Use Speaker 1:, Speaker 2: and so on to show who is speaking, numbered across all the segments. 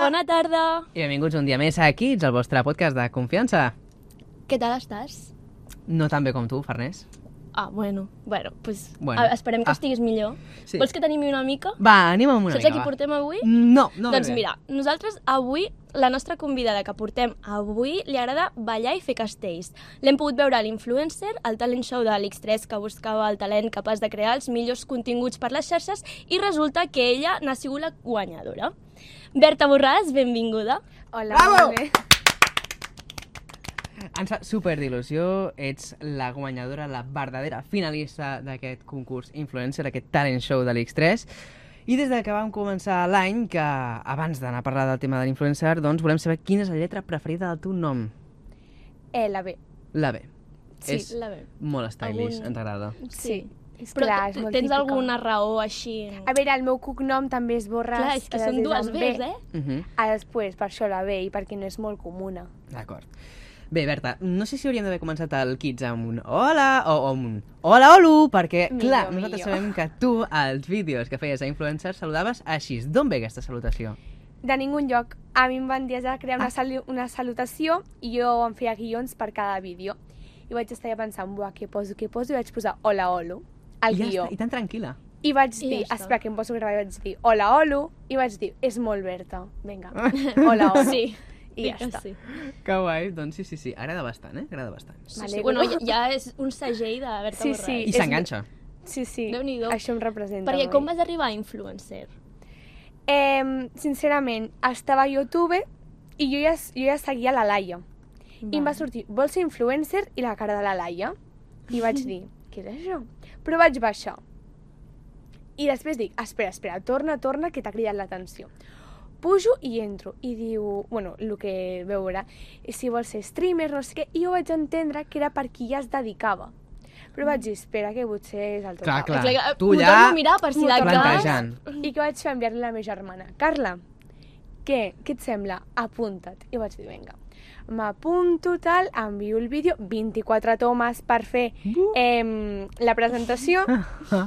Speaker 1: bona tarda.
Speaker 2: I benvinguts un dia més a Kids, el vostre podcast de confiança.
Speaker 1: Què tal estàs?
Speaker 2: No tan bé com tu, Farners.
Speaker 1: Ah, bueno, bueno, pues,
Speaker 2: Bueno.
Speaker 1: bueno. esperem que
Speaker 2: Ah.
Speaker 1: estiguis millor.
Speaker 2: Sí.
Speaker 1: Vols que t'animi una mica?
Speaker 2: Va, anima'm una
Speaker 1: Saps
Speaker 2: mica,
Speaker 1: a qui
Speaker 2: va.
Speaker 1: portem avui?
Speaker 2: No, no ve
Speaker 1: doncs
Speaker 2: bé.
Speaker 1: mira, nosaltres avui, la nostra convidada que portem avui, li agrada ballar i fer castells. L'hem pogut veure a l'Influencer, al talent show de l'X3 que buscava el talent capaç de crear els millors continguts per les xarxes i resulta que ella n'ha sigut la guanyadora. Berta Borràs, benvinguda.
Speaker 3: Hola,
Speaker 2: Bravo!
Speaker 3: molt bé.
Speaker 2: Ens fa super d'il·lusió, ets la guanyadora, la verdadera finalista d'aquest concurs influencer, aquest talent show de l'X3. I des de que vam començar l'any, que abans d'anar a parlar del tema de l'influencer, doncs volem saber quina és la lletra preferida del teu nom.
Speaker 3: Eh, la B.
Speaker 2: La B.
Speaker 1: Sí,
Speaker 2: és
Speaker 1: la veu.
Speaker 2: molt stylish,
Speaker 1: Algun-
Speaker 2: ens agrada.
Speaker 3: Sí. És
Speaker 1: Però
Speaker 3: clar,
Speaker 1: t-
Speaker 3: és molt
Speaker 1: tens
Speaker 3: típica.
Speaker 1: alguna raó així?
Speaker 3: A veure, el meu cognom també és Borràs.
Speaker 1: Clar, és que
Speaker 3: eh,
Speaker 1: són
Speaker 3: des
Speaker 1: dues
Speaker 3: d'en
Speaker 1: veus,
Speaker 3: B.
Speaker 1: eh?
Speaker 2: Uh -huh.
Speaker 3: A després, per això la B, i perquè no és molt comuna.
Speaker 2: D'acord. Bé, Berta, no sé si hauríem d'haver començat el Kids amb un hola o, o amb un hola, olu, perquè,
Speaker 3: Millor,
Speaker 2: clar, nosaltres
Speaker 3: millor.
Speaker 2: sabem que tu, als vídeos que feies a influencers, saludaves així. D'on ve aquesta salutació?
Speaker 3: De ningú lloc. A mi em van dir de crear
Speaker 2: Ah.
Speaker 3: una, salu una salutació i jo em feia guions per cada vídeo. I vaig estar allà pensant, buah, què poso, què poso? I vaig posar hola, olo, al
Speaker 2: I ja
Speaker 3: guió.
Speaker 2: està, I tan tranquil·la.
Speaker 3: I vaig
Speaker 1: I ja
Speaker 3: dir,
Speaker 1: està.
Speaker 3: espera, que em poso a gravar, i vaig dir, hola, olo, i vaig dir, és molt Berta, vinga, hola, olo.
Speaker 1: Ah. Sí,
Speaker 3: I
Speaker 1: dic
Speaker 3: ja
Speaker 1: que
Speaker 3: està.
Speaker 1: Sí.
Speaker 2: Que guai, doncs sí, sí, sí, agrada bastant, eh? Agrada bastant.
Speaker 1: Sí, sí.
Speaker 3: M'alegro.
Speaker 1: Bueno, ja, ja és un segell de Berta
Speaker 3: Sí,
Speaker 1: Borràs.
Speaker 3: sí.
Speaker 2: I
Speaker 3: És-
Speaker 2: s'enganxa.
Speaker 3: Sí, sí,
Speaker 1: Déu-n'hi-do.
Speaker 3: això em representa.
Speaker 1: Perquè
Speaker 3: molt.
Speaker 1: com vas arribar a influencer?
Speaker 3: Eh, sincerament, estava a YouTube i jo ja, jo ja seguia la Laia. I em va sortir, vols ser influencer? I la cara de la Laia. I vaig dir, què és això? Però vaig baixar. I després dic, espera, espera, torna, torna, que t'ha cridat l'atenció. Pujo i entro. I diu, bueno, el que veurà, si vols ser streamer, no sé què. I jo vaig entendre que era per qui ja es dedicava. Però vaig dir, espera, que potser és el teu
Speaker 2: Clar,
Speaker 3: cap."
Speaker 2: clar.
Speaker 1: Clar,
Speaker 2: tu
Speaker 1: m'ho
Speaker 2: ja
Speaker 1: torno a mirar per si
Speaker 3: m'ho
Speaker 1: de
Speaker 3: torno a
Speaker 1: cas...
Speaker 2: Plantejant.
Speaker 3: I que vaig fer enviar-li a la meva germana. Carla, què? Què et sembla? Apunta't. I vaig dir, vinga. M'apunto tal, envio el vídeo, 24 tomes per fer eh, la presentació.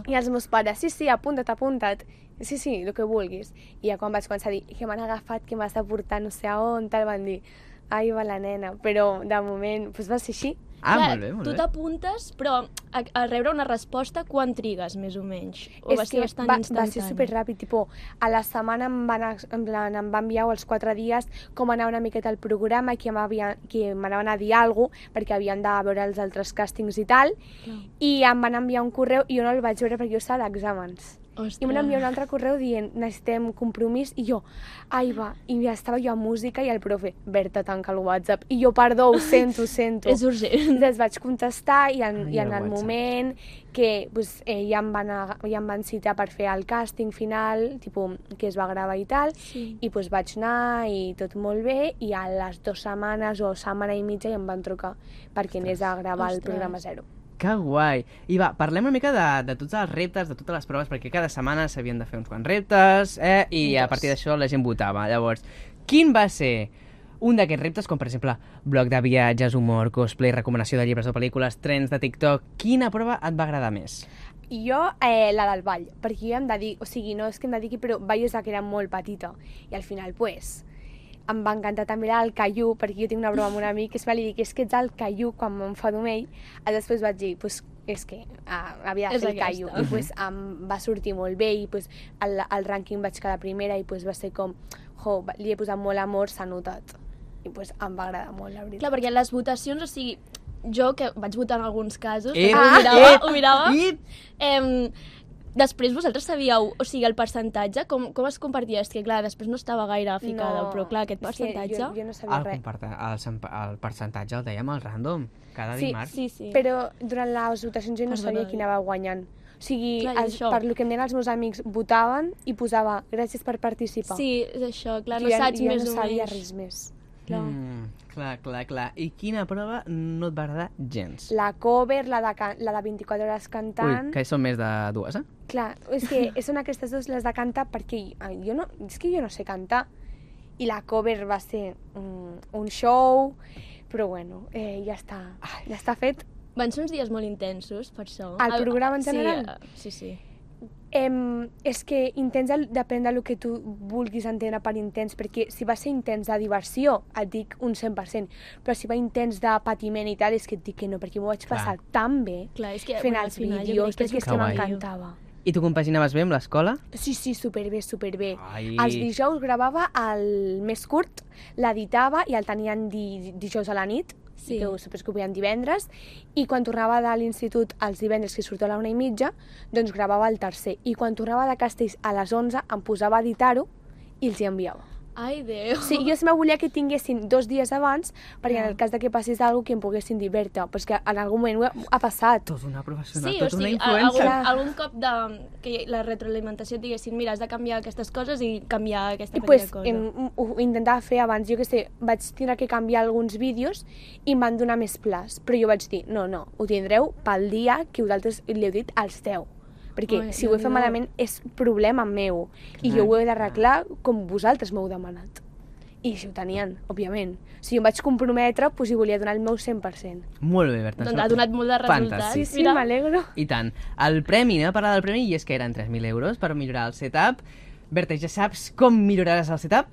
Speaker 3: I els meus pares, sí, sí, apunta't, apunta't. Sí, sí, el que vulguis. I ja quan vaig començar a dir que m'han agafat, que m'has de portar no sé a on, tal, van dir, ai, va la nena. Però de moment, doncs va ser així.
Speaker 2: Ah, molt bé, molt
Speaker 1: tu
Speaker 2: bé.
Speaker 1: t'apuntes, però a, a rebre una resposta quan trigues, més o menys? O va ser bastant
Speaker 3: va, va
Speaker 1: instantani?
Speaker 3: ser superràpid, tipo, a la setmana em van, ex- en plan, em va enviar o els quatre dies com anava una miqueta el programa, que m'havia- que m'anaven a dir alguna cosa, perquè havien de veure els altres càstings i tal,
Speaker 1: Clar.
Speaker 3: i em van enviar un correu i jo no el vaig veure perquè jo estava d'exàmens.
Speaker 1: Ostres.
Speaker 3: I em van enviar un altre correu dient, necessitem compromís, i jo, ai va, i ja estava jo a música i el profe, Berta, tanca el WhatsApp, i jo, perdó, ho sento, ho sento.
Speaker 1: És urgent.
Speaker 3: Les vaig contestar i en,
Speaker 2: Ai,
Speaker 3: i en
Speaker 2: el
Speaker 3: el
Speaker 2: WhatsApp.
Speaker 3: moment que pues, eh, ja, em van a, ja em van citar per fer el càsting final, tipus, que es va gravar i tal,
Speaker 1: Sí.
Speaker 3: i pues, vaig anar i tot molt bé, i a les dues setmanes o setmana i mitja ja em van trucar perquè anés a gravar el
Speaker 1: Ostres.
Speaker 3: programa zero.
Speaker 2: Que guai. I va, parlem una mica de, de tots els reptes, de totes les proves, perquè cada setmana s'havien de fer uns quants reptes, eh? I a
Speaker 1: Dos.
Speaker 2: partir d'això la gent votava. Llavors, quin va ser un d'aquests reptes, com per exemple blog de viatges, humor, cosplay, recomanació de llibres o pel·lícules, trens de TikTok... Quina prova et va agradar més?
Speaker 1: Ah,
Speaker 3: I jo, eh, la del ball, perquè jo em dedico, o sigui, no és que em dediqui, però ballo des de que era molt petita. I al final, pues, em va encantar també la del caiú, perquè jo tinc una broma amb un amic que sempre li dic, és que ets el caiú quan m'enfado amb ell, i després vaig dir, pues, és que ah, havia de
Speaker 1: És
Speaker 3: fer el
Speaker 1: aquesta.
Speaker 3: caiú. I pues, em va sortir molt bé, i pues, el, el rànquing vaig quedar primera, i pues, va ser com, jo, va- li he posat molt amor, s'ha notat. I pues, em va agradar molt, la veritat.
Speaker 1: Clar, perquè les votacions, o sigui, jo que vaig votar en alguns casos, perquè
Speaker 2: Ep,
Speaker 1: ho mirava,
Speaker 2: ep,
Speaker 1: ho mirava,
Speaker 2: ep.
Speaker 1: em, després vosaltres sabíeu, o sigui, el percentatge, com, com es compartia? És que, clar, després no estava gaire ficada,
Speaker 3: No,
Speaker 1: però, clar, aquest
Speaker 3: és que
Speaker 1: percentatge...
Speaker 3: Jo, jo no sabia
Speaker 2: El,
Speaker 3: res.
Speaker 2: comparta, el, sem- el percentatge el dèiem al random, cada
Speaker 3: Sí,
Speaker 2: dimarts.
Speaker 1: Sí, sí.
Speaker 3: Però durant les votacions jo no
Speaker 1: Perdona,
Speaker 3: sabia qui
Speaker 1: eh?
Speaker 3: anava guanyant. O sigui,
Speaker 1: Clar,
Speaker 3: Clar,
Speaker 1: i
Speaker 3: els,
Speaker 1: això.
Speaker 3: per lo que em deien els meus amics, votaven i posava gràcies per participar.
Speaker 1: Sí, és això, clar,
Speaker 3: Jo
Speaker 1: no
Speaker 3: ja,
Speaker 1: saps
Speaker 3: jo ja
Speaker 1: més
Speaker 3: no
Speaker 1: o
Speaker 3: sabia
Speaker 1: menys.
Speaker 3: res més.
Speaker 1: Clar.
Speaker 2: Mm, clar, clar, clar. I quina prova no et va agradar gens?
Speaker 3: La cover, la de, can- la de 24 hores cantant...
Speaker 2: Ui, que són més de dues, eh?
Speaker 3: Clar, és que són aquestes dues les de cantar perquè ai, jo no, és que jo no sé cantar. I la cover va ser mm, un show, però bueno, eh, ja està, ja està fet.
Speaker 1: Van ser uns dies molt intensos, per això.
Speaker 3: El programa en general?
Speaker 1: Sí, eh, sí. sí.
Speaker 3: em, és que intens el- depèn del que tu vulguis entendre per intens, perquè si va ser intens de diversió, et dic un 100%, però si va intens de patiment i tal, és que et dic que no, perquè m'ho vaig
Speaker 2: Clar.
Speaker 3: passar tan bé
Speaker 1: Clar, és que,
Speaker 3: fent
Speaker 1: bueno, al
Speaker 3: els
Speaker 1: final jo crec
Speaker 3: vídeos,
Speaker 1: que és
Speaker 3: perquè és
Speaker 2: un
Speaker 3: que
Speaker 2: guai.
Speaker 3: m'encantava.
Speaker 2: I tu compaginaves bé amb l'escola?
Speaker 3: Sí, sí, superbé, superbé.
Speaker 2: Ai.
Speaker 3: Els dijous gravava el més curt, l'editava i el tenien di dijous a la nit,
Speaker 1: Sí.
Speaker 3: sí. que ho suposo que ho feien divendres, i quan tornava de l'institut els divendres, que sortia a la una i mitja, doncs gravava el tercer. I quan tornava de Castells a les 11 em posava a editar-ho i els hi enviava.
Speaker 1: Ai, Déu.
Speaker 3: Sí, jo sempre volia que tinguessin dos dies abans, perquè en el cas de que passés alguna cosa que em poguessin dir, Berta, però és que en algun moment ho ha- ha passat.
Speaker 2: Tot una professional,
Speaker 1: Sí,
Speaker 2: tot
Speaker 1: o sigui,
Speaker 2: tota una
Speaker 1: a- algun,
Speaker 2: influencer.
Speaker 3: influencer.
Speaker 1: algun cop de, que la retroalimentació et diguessin mira, has de canviar aquestes coses i canviar aquesta
Speaker 3: I
Speaker 1: petita
Speaker 3: pues,
Speaker 1: cosa.
Speaker 3: em, ho intentava fer abans, jo que sé, vaig tindre que canviar alguns vídeos i em van donar més plats, però jo vaig dir, no, no, ho tindreu pel dia que vosaltres li heu dit als 10, perquè
Speaker 1: Ai,
Speaker 3: si ho he fet
Speaker 1: Déu-n'hi-do.
Speaker 3: malament és problema meu i
Speaker 2: Clar,
Speaker 3: jo ho he d'arreglar com vosaltres m'heu demanat. I així ho tenien, òbviament. O sigui, em vaig comprometre, doncs hi volia donar el meu 100%.
Speaker 2: Molt bé, Berta.
Speaker 1: Doncs
Speaker 2: sort.
Speaker 1: ha donat molt de resultats.
Speaker 2: Fantàstic.
Speaker 1: Mira.
Speaker 3: m'alegro.
Speaker 2: I tant. El premi, anem a parlar del premi, i és que eren 3.000 euros per millorar el setup. Berta, ja saps com milloraràs el setup?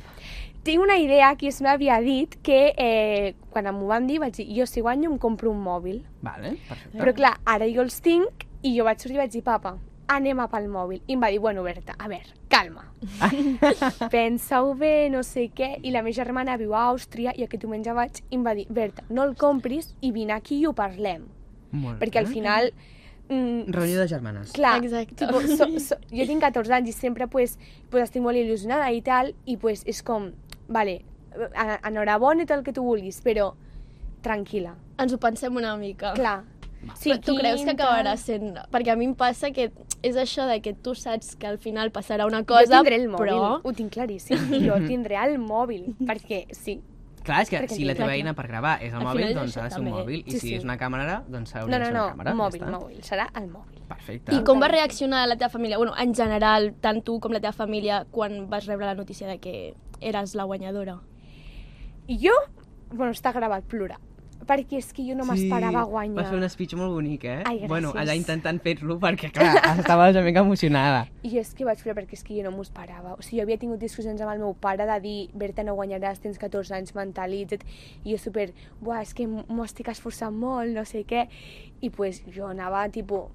Speaker 3: Tinc una idea que es m'havia dit que eh, quan m'ho van dir vaig dir, jo si guanyo em compro un mòbil.
Speaker 2: Vale, perfecte.
Speaker 3: Però clar, ara jo els tinc i jo vaig sortir i vaig dir, papa, anem a pel mòbil. I em va dir, bueno, Berta, a veure, calma. Pensa-ho bé, no sé què. I la meva germana viu a Àustria i aquest diumenge vaig i em va dir, Berta, no el compris i vine aquí i ho parlem.
Speaker 2: Molt
Speaker 3: Perquè al
Speaker 2: bé.
Speaker 3: final... Mm,
Speaker 2: Reunió de germanes.
Speaker 3: clar,
Speaker 1: Exacte.
Speaker 3: tipo, so, so, jo tinc 14 anys i sempre pues, pues, estic molt il·lusionada i tal, i pues, és com, vale, en- enhorabona i tot el que tu vulguis, però tranquil·la.
Speaker 1: Ens ho pensem una mica.
Speaker 3: Clar.
Speaker 1: Sí, Però tu creus que
Speaker 3: quinta-
Speaker 1: acabarà sent... Perquè a mi em passa que és això de que tu saps que al final passarà una
Speaker 3: Cosa,
Speaker 1: cosa,
Speaker 3: jo tindré el mòbil,
Speaker 1: però...
Speaker 3: ho tinc claríssim. Jo tindré el mòbil, perquè sí.
Speaker 2: Clar, és que
Speaker 3: Perquè
Speaker 2: si la teva
Speaker 1: clar,
Speaker 2: eina per gravar és el
Speaker 1: Al
Speaker 2: mòbil,
Speaker 1: final és
Speaker 2: doncs
Speaker 1: això
Speaker 2: ha de ser un
Speaker 1: també.
Speaker 2: mòbil. I
Speaker 3: Sí,
Speaker 2: si
Speaker 3: sí.
Speaker 2: és una càmera, doncs hauria
Speaker 3: No,
Speaker 2: de
Speaker 3: no,
Speaker 2: ser
Speaker 3: no,
Speaker 2: una càmera. ja
Speaker 3: mòbil,
Speaker 2: està.
Speaker 3: mòbil, serà el mòbil.
Speaker 2: Perfecte.
Speaker 1: I com va reaccionar la teva família? Bueno, en general, tant tu com la teva família, quan vas rebre la notícia de que eres la guanyadora.
Speaker 3: I jo, bueno, està gravat plorar, perquè és que jo no m'esperava guanyar.
Speaker 2: Vas fer un speech molt bonic, eh?
Speaker 3: Ai, gràcies.
Speaker 2: bueno, allà intentant fer-lo perquè, clar, estava una mica emocionada.
Speaker 3: I és que vaig plorar perquè és que jo no m'ho esperava. O sigui, jo havia tingut discussions amb el meu pare de dir Berta, no guanyaràs, tens 14 anys, mentalitza't. I jo super, buah, és que m'ho estic esforçant molt, no sé què. I pues jo anava tipo,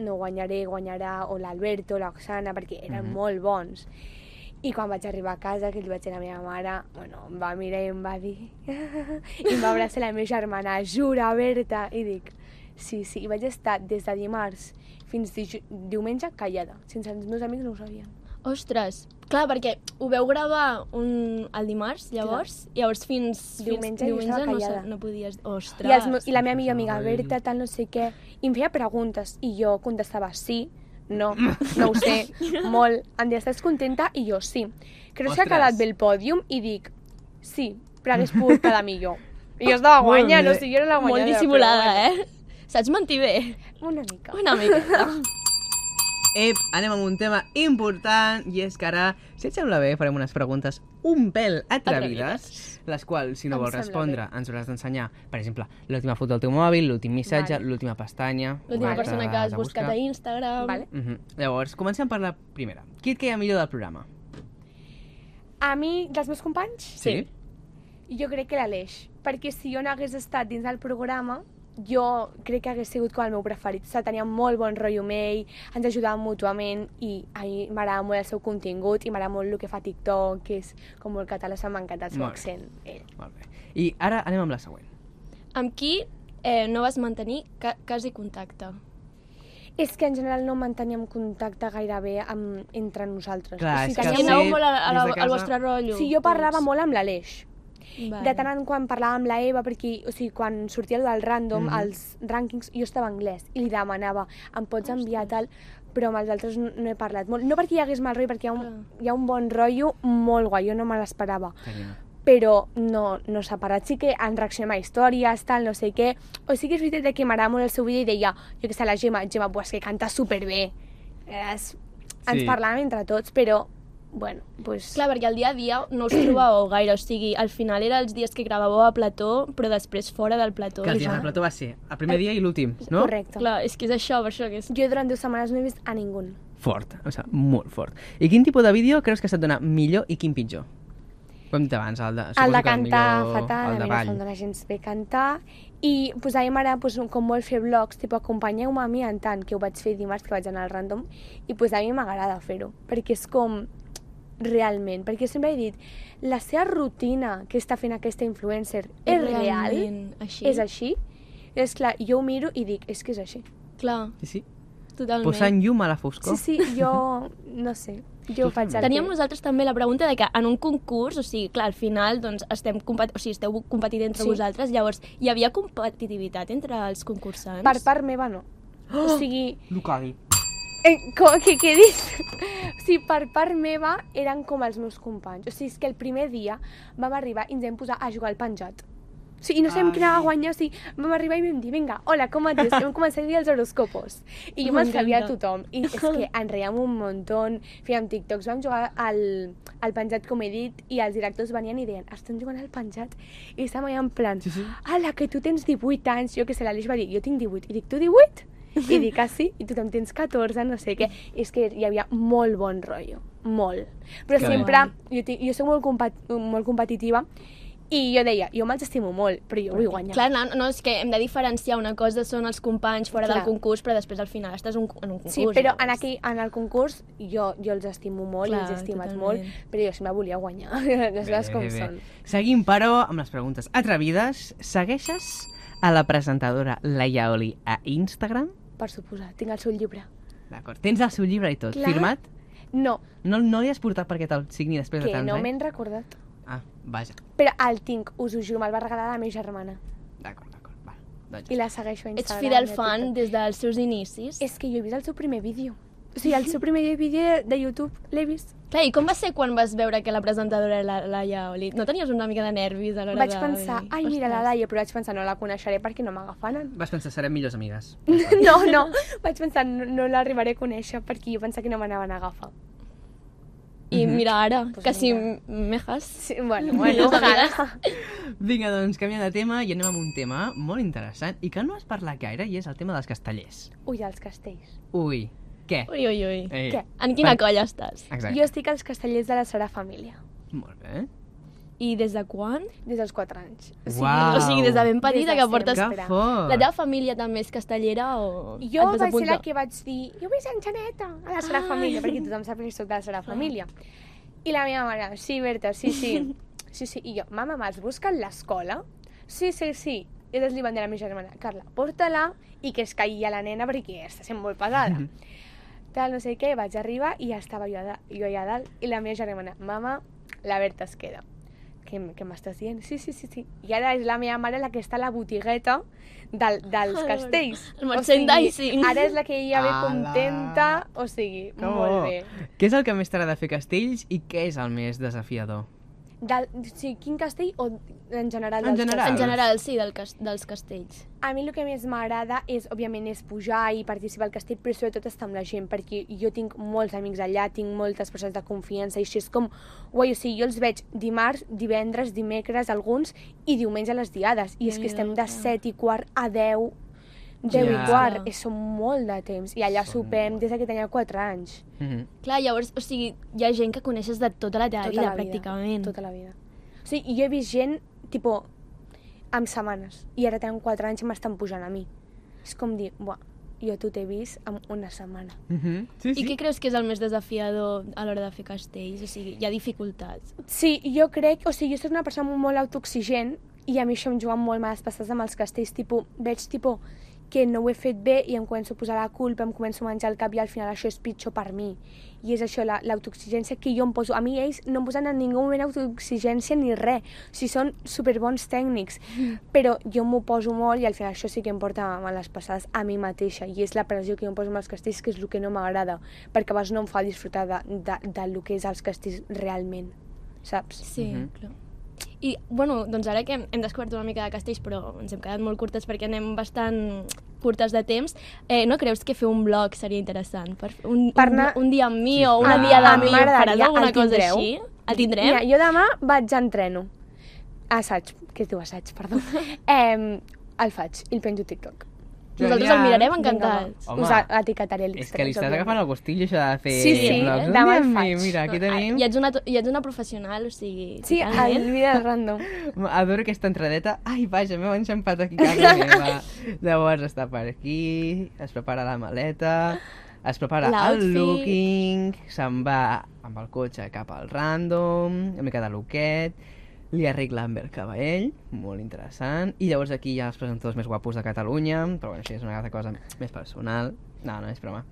Speaker 3: no guanyaré, guanyarà, o l'Alberto, l'Oxana, perquè eren mm
Speaker 2: Mhm.
Speaker 3: -hmm. molt bons. I quan vaig arribar a casa, que li vaig dir a la meva mare, bueno, em va mirar i em va dir... I em va abraçar la meva germana, jura, Berta! I dic, sí, sí. I vaig estar des de dimarts fins diju- diumenge callada. Sense els meus amics no ho sabien.
Speaker 1: Ostres, clar, perquè ho veu gravar un, el dimarts, llavors, llavors fins
Speaker 3: Diumenge
Speaker 1: fins,
Speaker 3: jo estava
Speaker 1: no, sa-
Speaker 3: callada.
Speaker 1: no podies... Ostres,
Speaker 3: I, els, meus- I la meva
Speaker 2: sí,
Speaker 3: millor amiga,
Speaker 2: sí.
Speaker 3: Berta, tal, no sé què. I em feia preguntes. I jo contestava sí, no, no ho sé, molt. Em deia, estàs contenta? I jo, sí. Creus que ha
Speaker 2: Ostres.
Speaker 3: quedat bé el pòdium? I dic, sí, però hagués pogut quedar millor. I jo estava
Speaker 2: Molt
Speaker 3: guanyant,
Speaker 2: bé.
Speaker 3: o sigui, jo era la
Speaker 1: molt
Speaker 3: guanyadora.
Speaker 1: dissimulada, eh? Saps mentir bé?
Speaker 3: eh? Una mica.
Speaker 1: Una miqueta.
Speaker 2: Ep, anem amb un tema important i és que ara, si et sembla bé, farem unes preguntes un pèl atrevides, les quals, si no
Speaker 3: Em
Speaker 2: vols
Speaker 3: sembla
Speaker 2: respondre, ens hauràs d'ensenyar, per exemple, l'última foto del teu mòbil, l'últim missatge,
Speaker 3: Vale.
Speaker 2: l'última pestanya...
Speaker 1: L'última
Speaker 2: oberta
Speaker 1: persona que has
Speaker 2: de
Speaker 1: buscat
Speaker 2: buscar.
Speaker 1: a Instagram.
Speaker 3: Vale.
Speaker 2: Mhm. Llavors, comencem per la primera. Qui et queia millor del programa?
Speaker 3: A mi, dels meus companys,
Speaker 1: Sí.
Speaker 3: jo crec que l'Aleix. Perquè si jo no hagués estat dins del programa, jo crec que hagués sigut com el meu preferit. O sigui, tenia molt bon rotllo amb ell, ens ajudava mútuament i a mi m'agrada molt el seu contingut i m'agrada molt el que fa TikTok, que és com molt català, se m'encanta el seu
Speaker 2: Molt.
Speaker 3: accent. Ell.
Speaker 2: Molt bé. I ara anem amb la següent.
Speaker 1: Amb qui eh, no vas mantenir ca quasi contacte?
Speaker 3: És que en general no manteníem contacte gaire bé amb, entre nosaltres.
Speaker 2: Clar, és que
Speaker 1: Que
Speaker 2: Sí,
Speaker 1: sí,
Speaker 3: teníem-
Speaker 1: aneu
Speaker 2: sí,
Speaker 1: molt a, a, la,
Speaker 2: des de
Speaker 1: al
Speaker 2: casa.
Speaker 1: vostre rotllo.
Speaker 3: Sí, jo parlava
Speaker 1: tots.
Speaker 3: molt amb l'Aleix.
Speaker 1: Vale.
Speaker 3: De tant en quan parlava amb la Eva, perquè o sigui, quan sortia el del random, mm
Speaker 2: Mhm.
Speaker 3: -hmm. els rànquings, jo estava anglès i li demanava, em pots enviar tal, però amb els altres no, no he parlat molt. No perquè hi hagués mal rotllo, perquè hi ha un, hi ha un bon rotllo molt guai, jo no me l'esperava.
Speaker 2: Carina.
Speaker 3: Però no, no s'ha parat, sí que han reaccionat a històries, tal, no sé què. O sí que és veritat de que m'agrada molt el seu vídeo i deia, jo que sé, la Gemma, Gemma, buah, és que canta superbé. Es, ens
Speaker 2: Sí.
Speaker 3: parlàvem entre tots, però, bueno, doncs...
Speaker 1: Clar, perquè el dia a dia no us trobàveu gaire, o sigui, al final era els dies que gravàveu a plató, però després fora del plató.
Speaker 2: Que el dia
Speaker 1: Clar.
Speaker 2: del plató
Speaker 1: Eh,
Speaker 2: va ser el primer dia i l'últim, no?
Speaker 3: Correcte.
Speaker 1: Clar, és que és això, per això que és...
Speaker 3: Jo durant dues setmanes no he vist a ningú.
Speaker 2: fort, em sembla molt fort. I quin tipus de vídeo creus que se't dona millor i quin pitjor? Ho hem dit abans, el de...
Speaker 3: El
Speaker 2: suposo
Speaker 3: de
Speaker 2: que
Speaker 3: cantar
Speaker 2: millor-
Speaker 3: fatal,
Speaker 2: el
Speaker 3: a
Speaker 2: de
Speaker 3: mi no se'm
Speaker 2: ball.
Speaker 3: dona gens bé cantar. I pues, a mi m'agrada pues, com molt fer vlogs, tipus acompanyeu-me a mi en tant, que ho vaig fer dimarts que vaig anar al random, i pues, a mi m'agrada fer-ho, perquè és com realment, perquè sempre he dit, la seva rutina que està fent aquesta influencer és real,
Speaker 1: Realment Així.
Speaker 3: és així, I és clar, jo ho miro i dic, és que és així.
Speaker 1: Clar,
Speaker 2: Sí, sí.
Speaker 1: totalment.
Speaker 2: Posant llum a la foscor.
Speaker 3: Sí, sí, jo, no sé, jo ho faig al
Speaker 1: Teníem
Speaker 3: que-
Speaker 1: nosaltres també la pregunta de que en un concurs, o sigui, clar, al final doncs, estem compet o sigui, esteu competint entre
Speaker 3: Sí.
Speaker 1: vosaltres, llavors hi havia competitivitat entre els concursants?
Speaker 3: Per part meva no. O sigui,
Speaker 2: Lucadi.
Speaker 3: Eh, com, què, què dius? O sigui, per part meva eren com els meus companys. O sigui, és que el primer dia vam arribar i ens vam posar a jugar al penjat. O sigui, i no sabem
Speaker 2: Ai.
Speaker 3: qui anava a guanyar, o sigui, vam arribar i vam dir, vinga, hola, com et dius? I vam començar a dir els horoscopos. I jo me'n sabia
Speaker 1: M'encanta.
Speaker 3: tothom. I és que en reiem un muntó, fèiem TikToks, vam jugar al, al penjat, com he dit, i els directors venien i deien, estem jugant al penjat? I estàvem allà en plan,
Speaker 2: Sí, sí.
Speaker 3: ala, que tu tens 18 anys, jo que sé, l'Aleix va dir, jo tinc 18, i dic, tu 18? I dic, ah, sí, i tu també tens 14, no sé què. I és que hi havia molt bon rotllo, molt. Però
Speaker 2: Que
Speaker 3: que
Speaker 2: bé.
Speaker 3: sempre, jo, tinc, jo soc molt, compat, molt competitiva, i jo deia, jo me'ls estimo molt, però jo vull guanyar.
Speaker 1: Clar, no, no, és que hem de diferenciar una cosa, són els companys fora
Speaker 3: Clar.
Speaker 1: del concurs, però després al final estàs un, en un concurs.
Speaker 3: Sí, però en,
Speaker 1: llavors.
Speaker 3: aquell, en el concurs jo, jo els estimo molt,
Speaker 1: Clar,
Speaker 3: Clar, els he estimat
Speaker 1: totalment.
Speaker 3: molt, però jo sempre volia guanyar, les coses com són.
Speaker 2: Seguim, però, amb les preguntes atrevides. Segueixes a la presentadora Laia Oli a Instagram?
Speaker 3: Per suposar, tinc el seu llibre.
Speaker 2: D'acord. Tens el seu llibre i tot.
Speaker 3: Clar.
Speaker 2: Firmat?
Speaker 3: No,
Speaker 2: No, no l'hi has portat perquè te'l signi després de
Speaker 3: que
Speaker 2: tants
Speaker 3: no
Speaker 2: anys?
Speaker 3: m'he recordat.
Speaker 2: Ah, vaja.
Speaker 3: Però el tinc, us ho juro, me'l va regalar la meva germana.
Speaker 2: D'acord, d'acord. Va. Doncs...
Speaker 3: I la segueixo a
Speaker 1: Ets
Speaker 3: Instagram.
Speaker 1: fidel
Speaker 3: i a
Speaker 1: fan
Speaker 3: TikTok.
Speaker 1: des dels seus inicis.
Speaker 3: És que jo he vist el seu primer vídeo. O sigui, el seu primer vídeo de YouTube l'he vist.
Speaker 1: Clar, i com va ser quan vas veure que la presentadora era la Laia Oli? No tenies una mica de nervis a l'hora
Speaker 3: Vaig
Speaker 1: de...
Speaker 3: pensar,
Speaker 1: dir,
Speaker 3: ai, mira la
Speaker 1: "Ostres".
Speaker 3: Laia, però vaig pensar, no la coneixeré perquè no m'agafaran.
Speaker 2: Vas pensar, serem millors amigues.
Speaker 3: No, no, vaig pensar, no, no l'arribaré a conèixer perquè jo pensava que no m'anaven a agafar.
Speaker 1: I
Speaker 2: Mhm.
Speaker 1: mira ara,
Speaker 3: Pues
Speaker 1: quasi
Speaker 3: mira.
Speaker 1: mejas.
Speaker 3: Sí, bueno, bueno,
Speaker 1: Millors
Speaker 3: ojalà.
Speaker 2: Vinga, doncs, canviem de tema i anem amb un tema molt interessant i que no has parlat gaire i és el tema dels castellers.
Speaker 3: Ui, els castells.
Speaker 2: Ui, què?
Speaker 1: Ui, ui, ui.
Speaker 2: Ei,
Speaker 3: Què?
Speaker 1: En quina
Speaker 2: Per-
Speaker 1: colla estàs?
Speaker 2: Exacte.
Speaker 3: Jo estic als castellers de la Sara Família,
Speaker 2: Molt bé.
Speaker 1: I des de quan?
Speaker 3: des dels 4 anys.
Speaker 2: Uau.
Speaker 1: O sigui, des de ben
Speaker 3: Des de
Speaker 1: petita que
Speaker 3: sempre.
Speaker 1: portes...
Speaker 2: Que
Speaker 3: Espera.
Speaker 2: fort!
Speaker 1: La teva família també és castellera o...
Speaker 3: Jo
Speaker 1: et vas
Speaker 3: vaig ser la
Speaker 1: apuntar?
Speaker 3: que vaig dir, jo vull ser Anxaneta, a la Sara
Speaker 1: Ai. Ah.
Speaker 3: Família, perquè tothom sap que soc de la Sara Família. I la meva mare, sí, Berta, sí, sí. Sí, sí. I jo, mama, me'ls busquen l'escola? Sí, sí, sí. I llavors li van dir a la meva germana, Carla, porta-la i que es caigui a la nena perquè està sent molt
Speaker 1: Mm-hmm.
Speaker 3: pesada.
Speaker 2: Mhm.
Speaker 3: Tal, no sé què, vaig arribar i ja estava jo, a da- jo allà dalt i la meva germana, mama, la Berta es queda. Què, m- què m'estàs dient? Sí, sí, sí, sí. I ara és la meva mare la que està a la botigueta del, dels
Speaker 1: Joder,
Speaker 3: castells.
Speaker 1: el
Speaker 3: O sigui,
Speaker 1: merchandising.
Speaker 3: Ara és la que ella ve
Speaker 2: Ala.
Speaker 3: contenta, o sigui,
Speaker 2: Que
Speaker 3: molt
Speaker 2: bo.
Speaker 3: bé.
Speaker 2: Què és el que més t'agrada fer castells i què és el més desafiador?
Speaker 3: Del, o sigui, quin castell o en general?
Speaker 2: En
Speaker 3: dels
Speaker 2: general.
Speaker 1: En
Speaker 3: castells?
Speaker 1: general, sí, del cas dels castells.
Speaker 3: A mi el que més m'agrada és, òbviament, és pujar i participar al castell, però sobretot estar amb la gent, perquè jo tinc molts amics allà, tinc moltes persones de confiança, i així és com... Guai, o sigui, jo els veig dimarts, divendres, dimecres, alguns, i diumenge a les diades, i és
Speaker 1: Déu-n'hi-do,
Speaker 3: que estem de
Speaker 1: clar.
Speaker 3: 7 i quart a 10, 10
Speaker 2: Ja.
Speaker 3: i quart,
Speaker 1: Clar.
Speaker 3: és, som molt de temps, i allà
Speaker 2: Són
Speaker 3: sopem
Speaker 2: molt.
Speaker 3: des de que tenia 4 anys.
Speaker 2: Mm -hmm.
Speaker 1: Clar, llavors, o sigui, hi ha gent que coneixes de tota la teva
Speaker 3: tota
Speaker 1: vida,
Speaker 3: la vida,
Speaker 1: pràcticament.
Speaker 3: Tota la vida. O sigui, jo he vist gent, tipo, amb setmanes, i ara tenen 4 anys i m'estan pujant a mi. És com dir, buah, jo a tu t'he vist amb una setmana.
Speaker 2: Mm -hmm. Sí, sí.
Speaker 1: I què creus que és el més desafiador a l'hora de fer castells? O sigui, hi ha dificultats.
Speaker 3: Sí, jo crec, o sigui, jo soc una persona molt autoxigent i a mi això em juga molt males passades amb els castells, tipo, veig tipo que no ho he fet bé i em començo a posar la culpa, em començo a menjar el cap i al final això és pitjor per mi. I és això, la- l'autoexigència que jo em poso. A mi ells no em posen en ningú moment autoexigència ni res. O sigui, són superbons tècnics. Però jo m'ho poso molt i al final això sí que em porta males passades a mi mateixa. I és la pressió que jo em poso amb els castells que és el que no m'agrada. Perquè abans no em fa disfrutar de, de, de lo que és els castells realment. Saps?
Speaker 1: Sí,
Speaker 2: Mhm.
Speaker 1: clar. I, bueno, doncs ara que hem, hem descobert una mica de castells, però ens hem quedat molt curtes perquè anem bastant curtes de temps, eh, no creus que fer un blog seria interessant? Per, fer un,
Speaker 3: Per
Speaker 1: un,
Speaker 3: anar-
Speaker 1: un dia amb mi
Speaker 2: Sí,
Speaker 1: o una
Speaker 2: clar.
Speaker 1: diada
Speaker 2: A
Speaker 1: amb
Speaker 2: mi
Speaker 1: mi, faràs
Speaker 3: m'agradaria,
Speaker 1: alguna
Speaker 3: el
Speaker 1: cosa
Speaker 3: tindreu?
Speaker 1: així? El tindrem?
Speaker 3: Mira, jo demà vaig a entreno. Assaig. Què es diu assaig, perdó. eh, el faig i el penjo a TikTok.
Speaker 1: Nosaltres
Speaker 2: Genial.
Speaker 1: el mirarem
Speaker 3: Vinga,
Speaker 1: encantats.
Speaker 3: va.
Speaker 2: Home.
Speaker 3: Us a- etiquetaré
Speaker 2: És
Speaker 3: l'X3.
Speaker 2: que li estàs
Speaker 3: òbviament.
Speaker 2: agafant el gustillo, això de fer...
Speaker 3: Sí, sí,
Speaker 2: blogs.
Speaker 3: demà el
Speaker 2: Mira,
Speaker 3: faig.
Speaker 2: Mira, aquí tenim...
Speaker 1: Ah, I ets, una, i ets una professional, o sigui... eh?
Speaker 3: Sí,
Speaker 1: totalment.
Speaker 3: el vídeo random.
Speaker 2: Adoro aquesta entradeta. Ai, vaja, m'heu enxampat aquí casa meva. Llavors està per aquí, es prepara la maleta, es prepara el
Speaker 1: L'outfit.
Speaker 2: looking, se'n va amb el cotxe cap al random, una mica de looket, li arreglen bé el cabell, molt interessant, i llavors aquí hi ha els presentadors més guapos de Catalunya, però bueno, això ja és una altra cosa més personal. No, no és broma.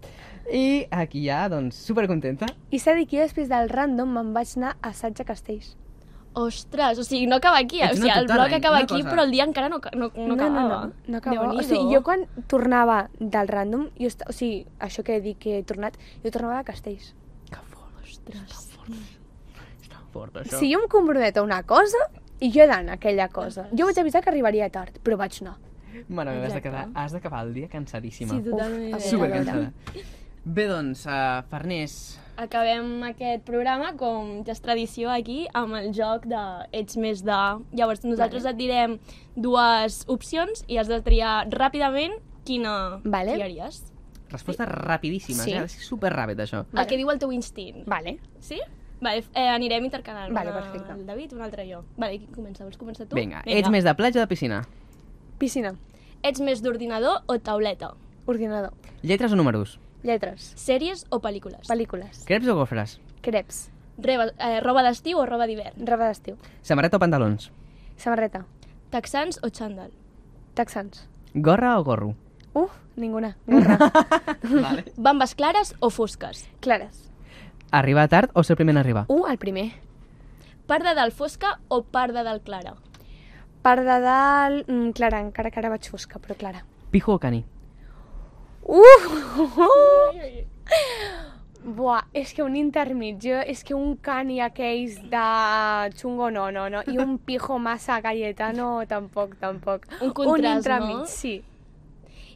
Speaker 2: I aquí ja, doncs, supercontenta.
Speaker 3: I s'ha dit que jo després del random me'n vaig anar a Satja Castells.
Speaker 1: Ostres, o sigui, no acaba aquí.
Speaker 2: Ets
Speaker 1: O
Speaker 2: una
Speaker 1: sigui, el
Speaker 2: total,
Speaker 1: bloc
Speaker 2: eh?
Speaker 1: acaba
Speaker 2: Una
Speaker 1: aquí,
Speaker 2: cosa.
Speaker 1: però el dia encara no, ca- no, no, acabava.
Speaker 3: No, no, no acabava.
Speaker 1: Déu-n'hi-do.
Speaker 3: O sigui, jo quan tornava del random, jo esta... o sigui, això que dic que he tornat, jo tornava a Castells.
Speaker 2: Que fort,
Speaker 1: Ostres.
Speaker 2: està fort, això.
Speaker 3: Si jo em comprometo a una cosa, i jo he d'anar a aquella cosa. Jo vaig avisar que arribaria tard, però vaig anar.
Speaker 2: Mare meva, has de,
Speaker 1: Exacte.
Speaker 2: quedar, has d'acabar el dia cansadíssima.
Speaker 1: Sí, totalment.
Speaker 3: Uf,
Speaker 2: Supercansada. Bé, doncs, uh, Farners,
Speaker 1: Acabem aquest programa, com ja és tradició aquí, amb el joc de Ets més de... Llavors, nosaltres et direm dues opcions i has de triar ràpidament quina
Speaker 3: Vale.
Speaker 1: triaries.
Speaker 2: resposta rapidíssima.
Speaker 3: Sí.
Speaker 2: Sí. eh? És superràpid, això.
Speaker 1: Vale.
Speaker 3: Vale.
Speaker 1: El que diu el teu instint.
Speaker 3: Vale.
Speaker 1: Sí? Vale, eh, anirem intercalant.
Speaker 3: Vale,
Speaker 1: una
Speaker 3: perfecte.
Speaker 1: El David, un altre jo. Vale, qui comença? Vols començar tu?
Speaker 2: Vinga, ets més de platja o de piscina?
Speaker 3: Piscina,
Speaker 1: Ets més d'ordinador o tauleta?
Speaker 3: ordinador,
Speaker 2: Lletres o números?
Speaker 3: lletres,
Speaker 1: Sèries o pel·lícules?
Speaker 3: pel·lícules,
Speaker 2: Creps o gofres?
Speaker 3: creps,
Speaker 1: Reba, eh, roba d'estiu o roba d'hivern?
Speaker 3: roba d'estiu,
Speaker 2: Samarreta o pantalons?
Speaker 3: samarreta,
Speaker 1: Texans o xandall?
Speaker 3: texans.
Speaker 2: Gorra o gorro?
Speaker 3: Uf, ninguna. Gorra.
Speaker 2: vale.
Speaker 1: Bambes clares o fosques?
Speaker 3: Clares.
Speaker 2: Arribar tard o ser primer en arribar?
Speaker 3: Uh, el primer.
Speaker 1: Part de dalt fosca o part de dalt clara?
Speaker 3: Part de dalt... Mm, clara, encara que ara vaig fosca, però clara.
Speaker 2: Pijo o cani?
Speaker 3: Uf! Buah, és que un intermig, jo- és que un cani aquells de xungo no, no, no, i un pijo massa galletano tampoc, tampoc.
Speaker 1: Un contrast,
Speaker 3: un entremig,
Speaker 1: no?
Speaker 3: sí.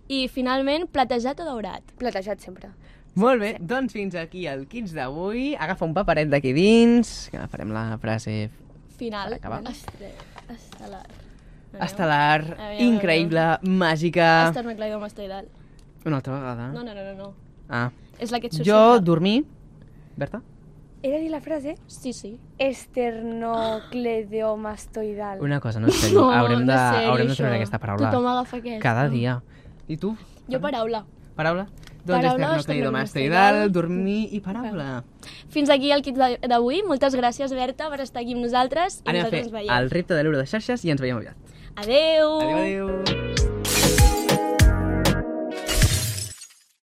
Speaker 1: I finalment, platejat o daurat?
Speaker 3: Platejat sempre.
Speaker 2: Molt bé, doncs fins aquí el quiz d'avui. Agafa un paperet d'aquí dins, que farem la frase
Speaker 1: Final.
Speaker 2: Per acabar.
Speaker 1: Estre- Estel·lar.
Speaker 2: estel·lar,
Speaker 1: veure.
Speaker 2: increïble, màgica...
Speaker 1: Estel·lar.
Speaker 2: Una altra vegada?
Speaker 1: No, no, no, no, no.
Speaker 2: Ah.
Speaker 1: És la que et
Speaker 2: Jo
Speaker 1: suscita.
Speaker 2: dormir... Berta?
Speaker 3: He de dir la frase?
Speaker 1: Sí, sí.
Speaker 3: Esternocleidomastoidal.
Speaker 2: Una cosa, no sé, no, haurem de,
Speaker 1: és sèrio,
Speaker 2: haurem de treure
Speaker 1: això.
Speaker 2: aquesta paraula
Speaker 1: Tothom agafa aquesta.
Speaker 2: cada dia. I tu?
Speaker 1: Jo paraula.
Speaker 2: Paraula? Doncs
Speaker 1: Paraula,
Speaker 2: esternocleidomastoidal,
Speaker 1: esternocleidomastoidal,
Speaker 2: dormir i paraula.
Speaker 1: Fins aquí el kit d'a- d'avui. Moltes gràcies, Berta, per estar aquí amb nosaltres. I
Speaker 2: Anem a fer
Speaker 1: nosaltres ens veiem. Oh.
Speaker 2: el repte de l'euro de xarxes i ens veiem aviat.
Speaker 1: Adeu!
Speaker 2: Adéu, adéu.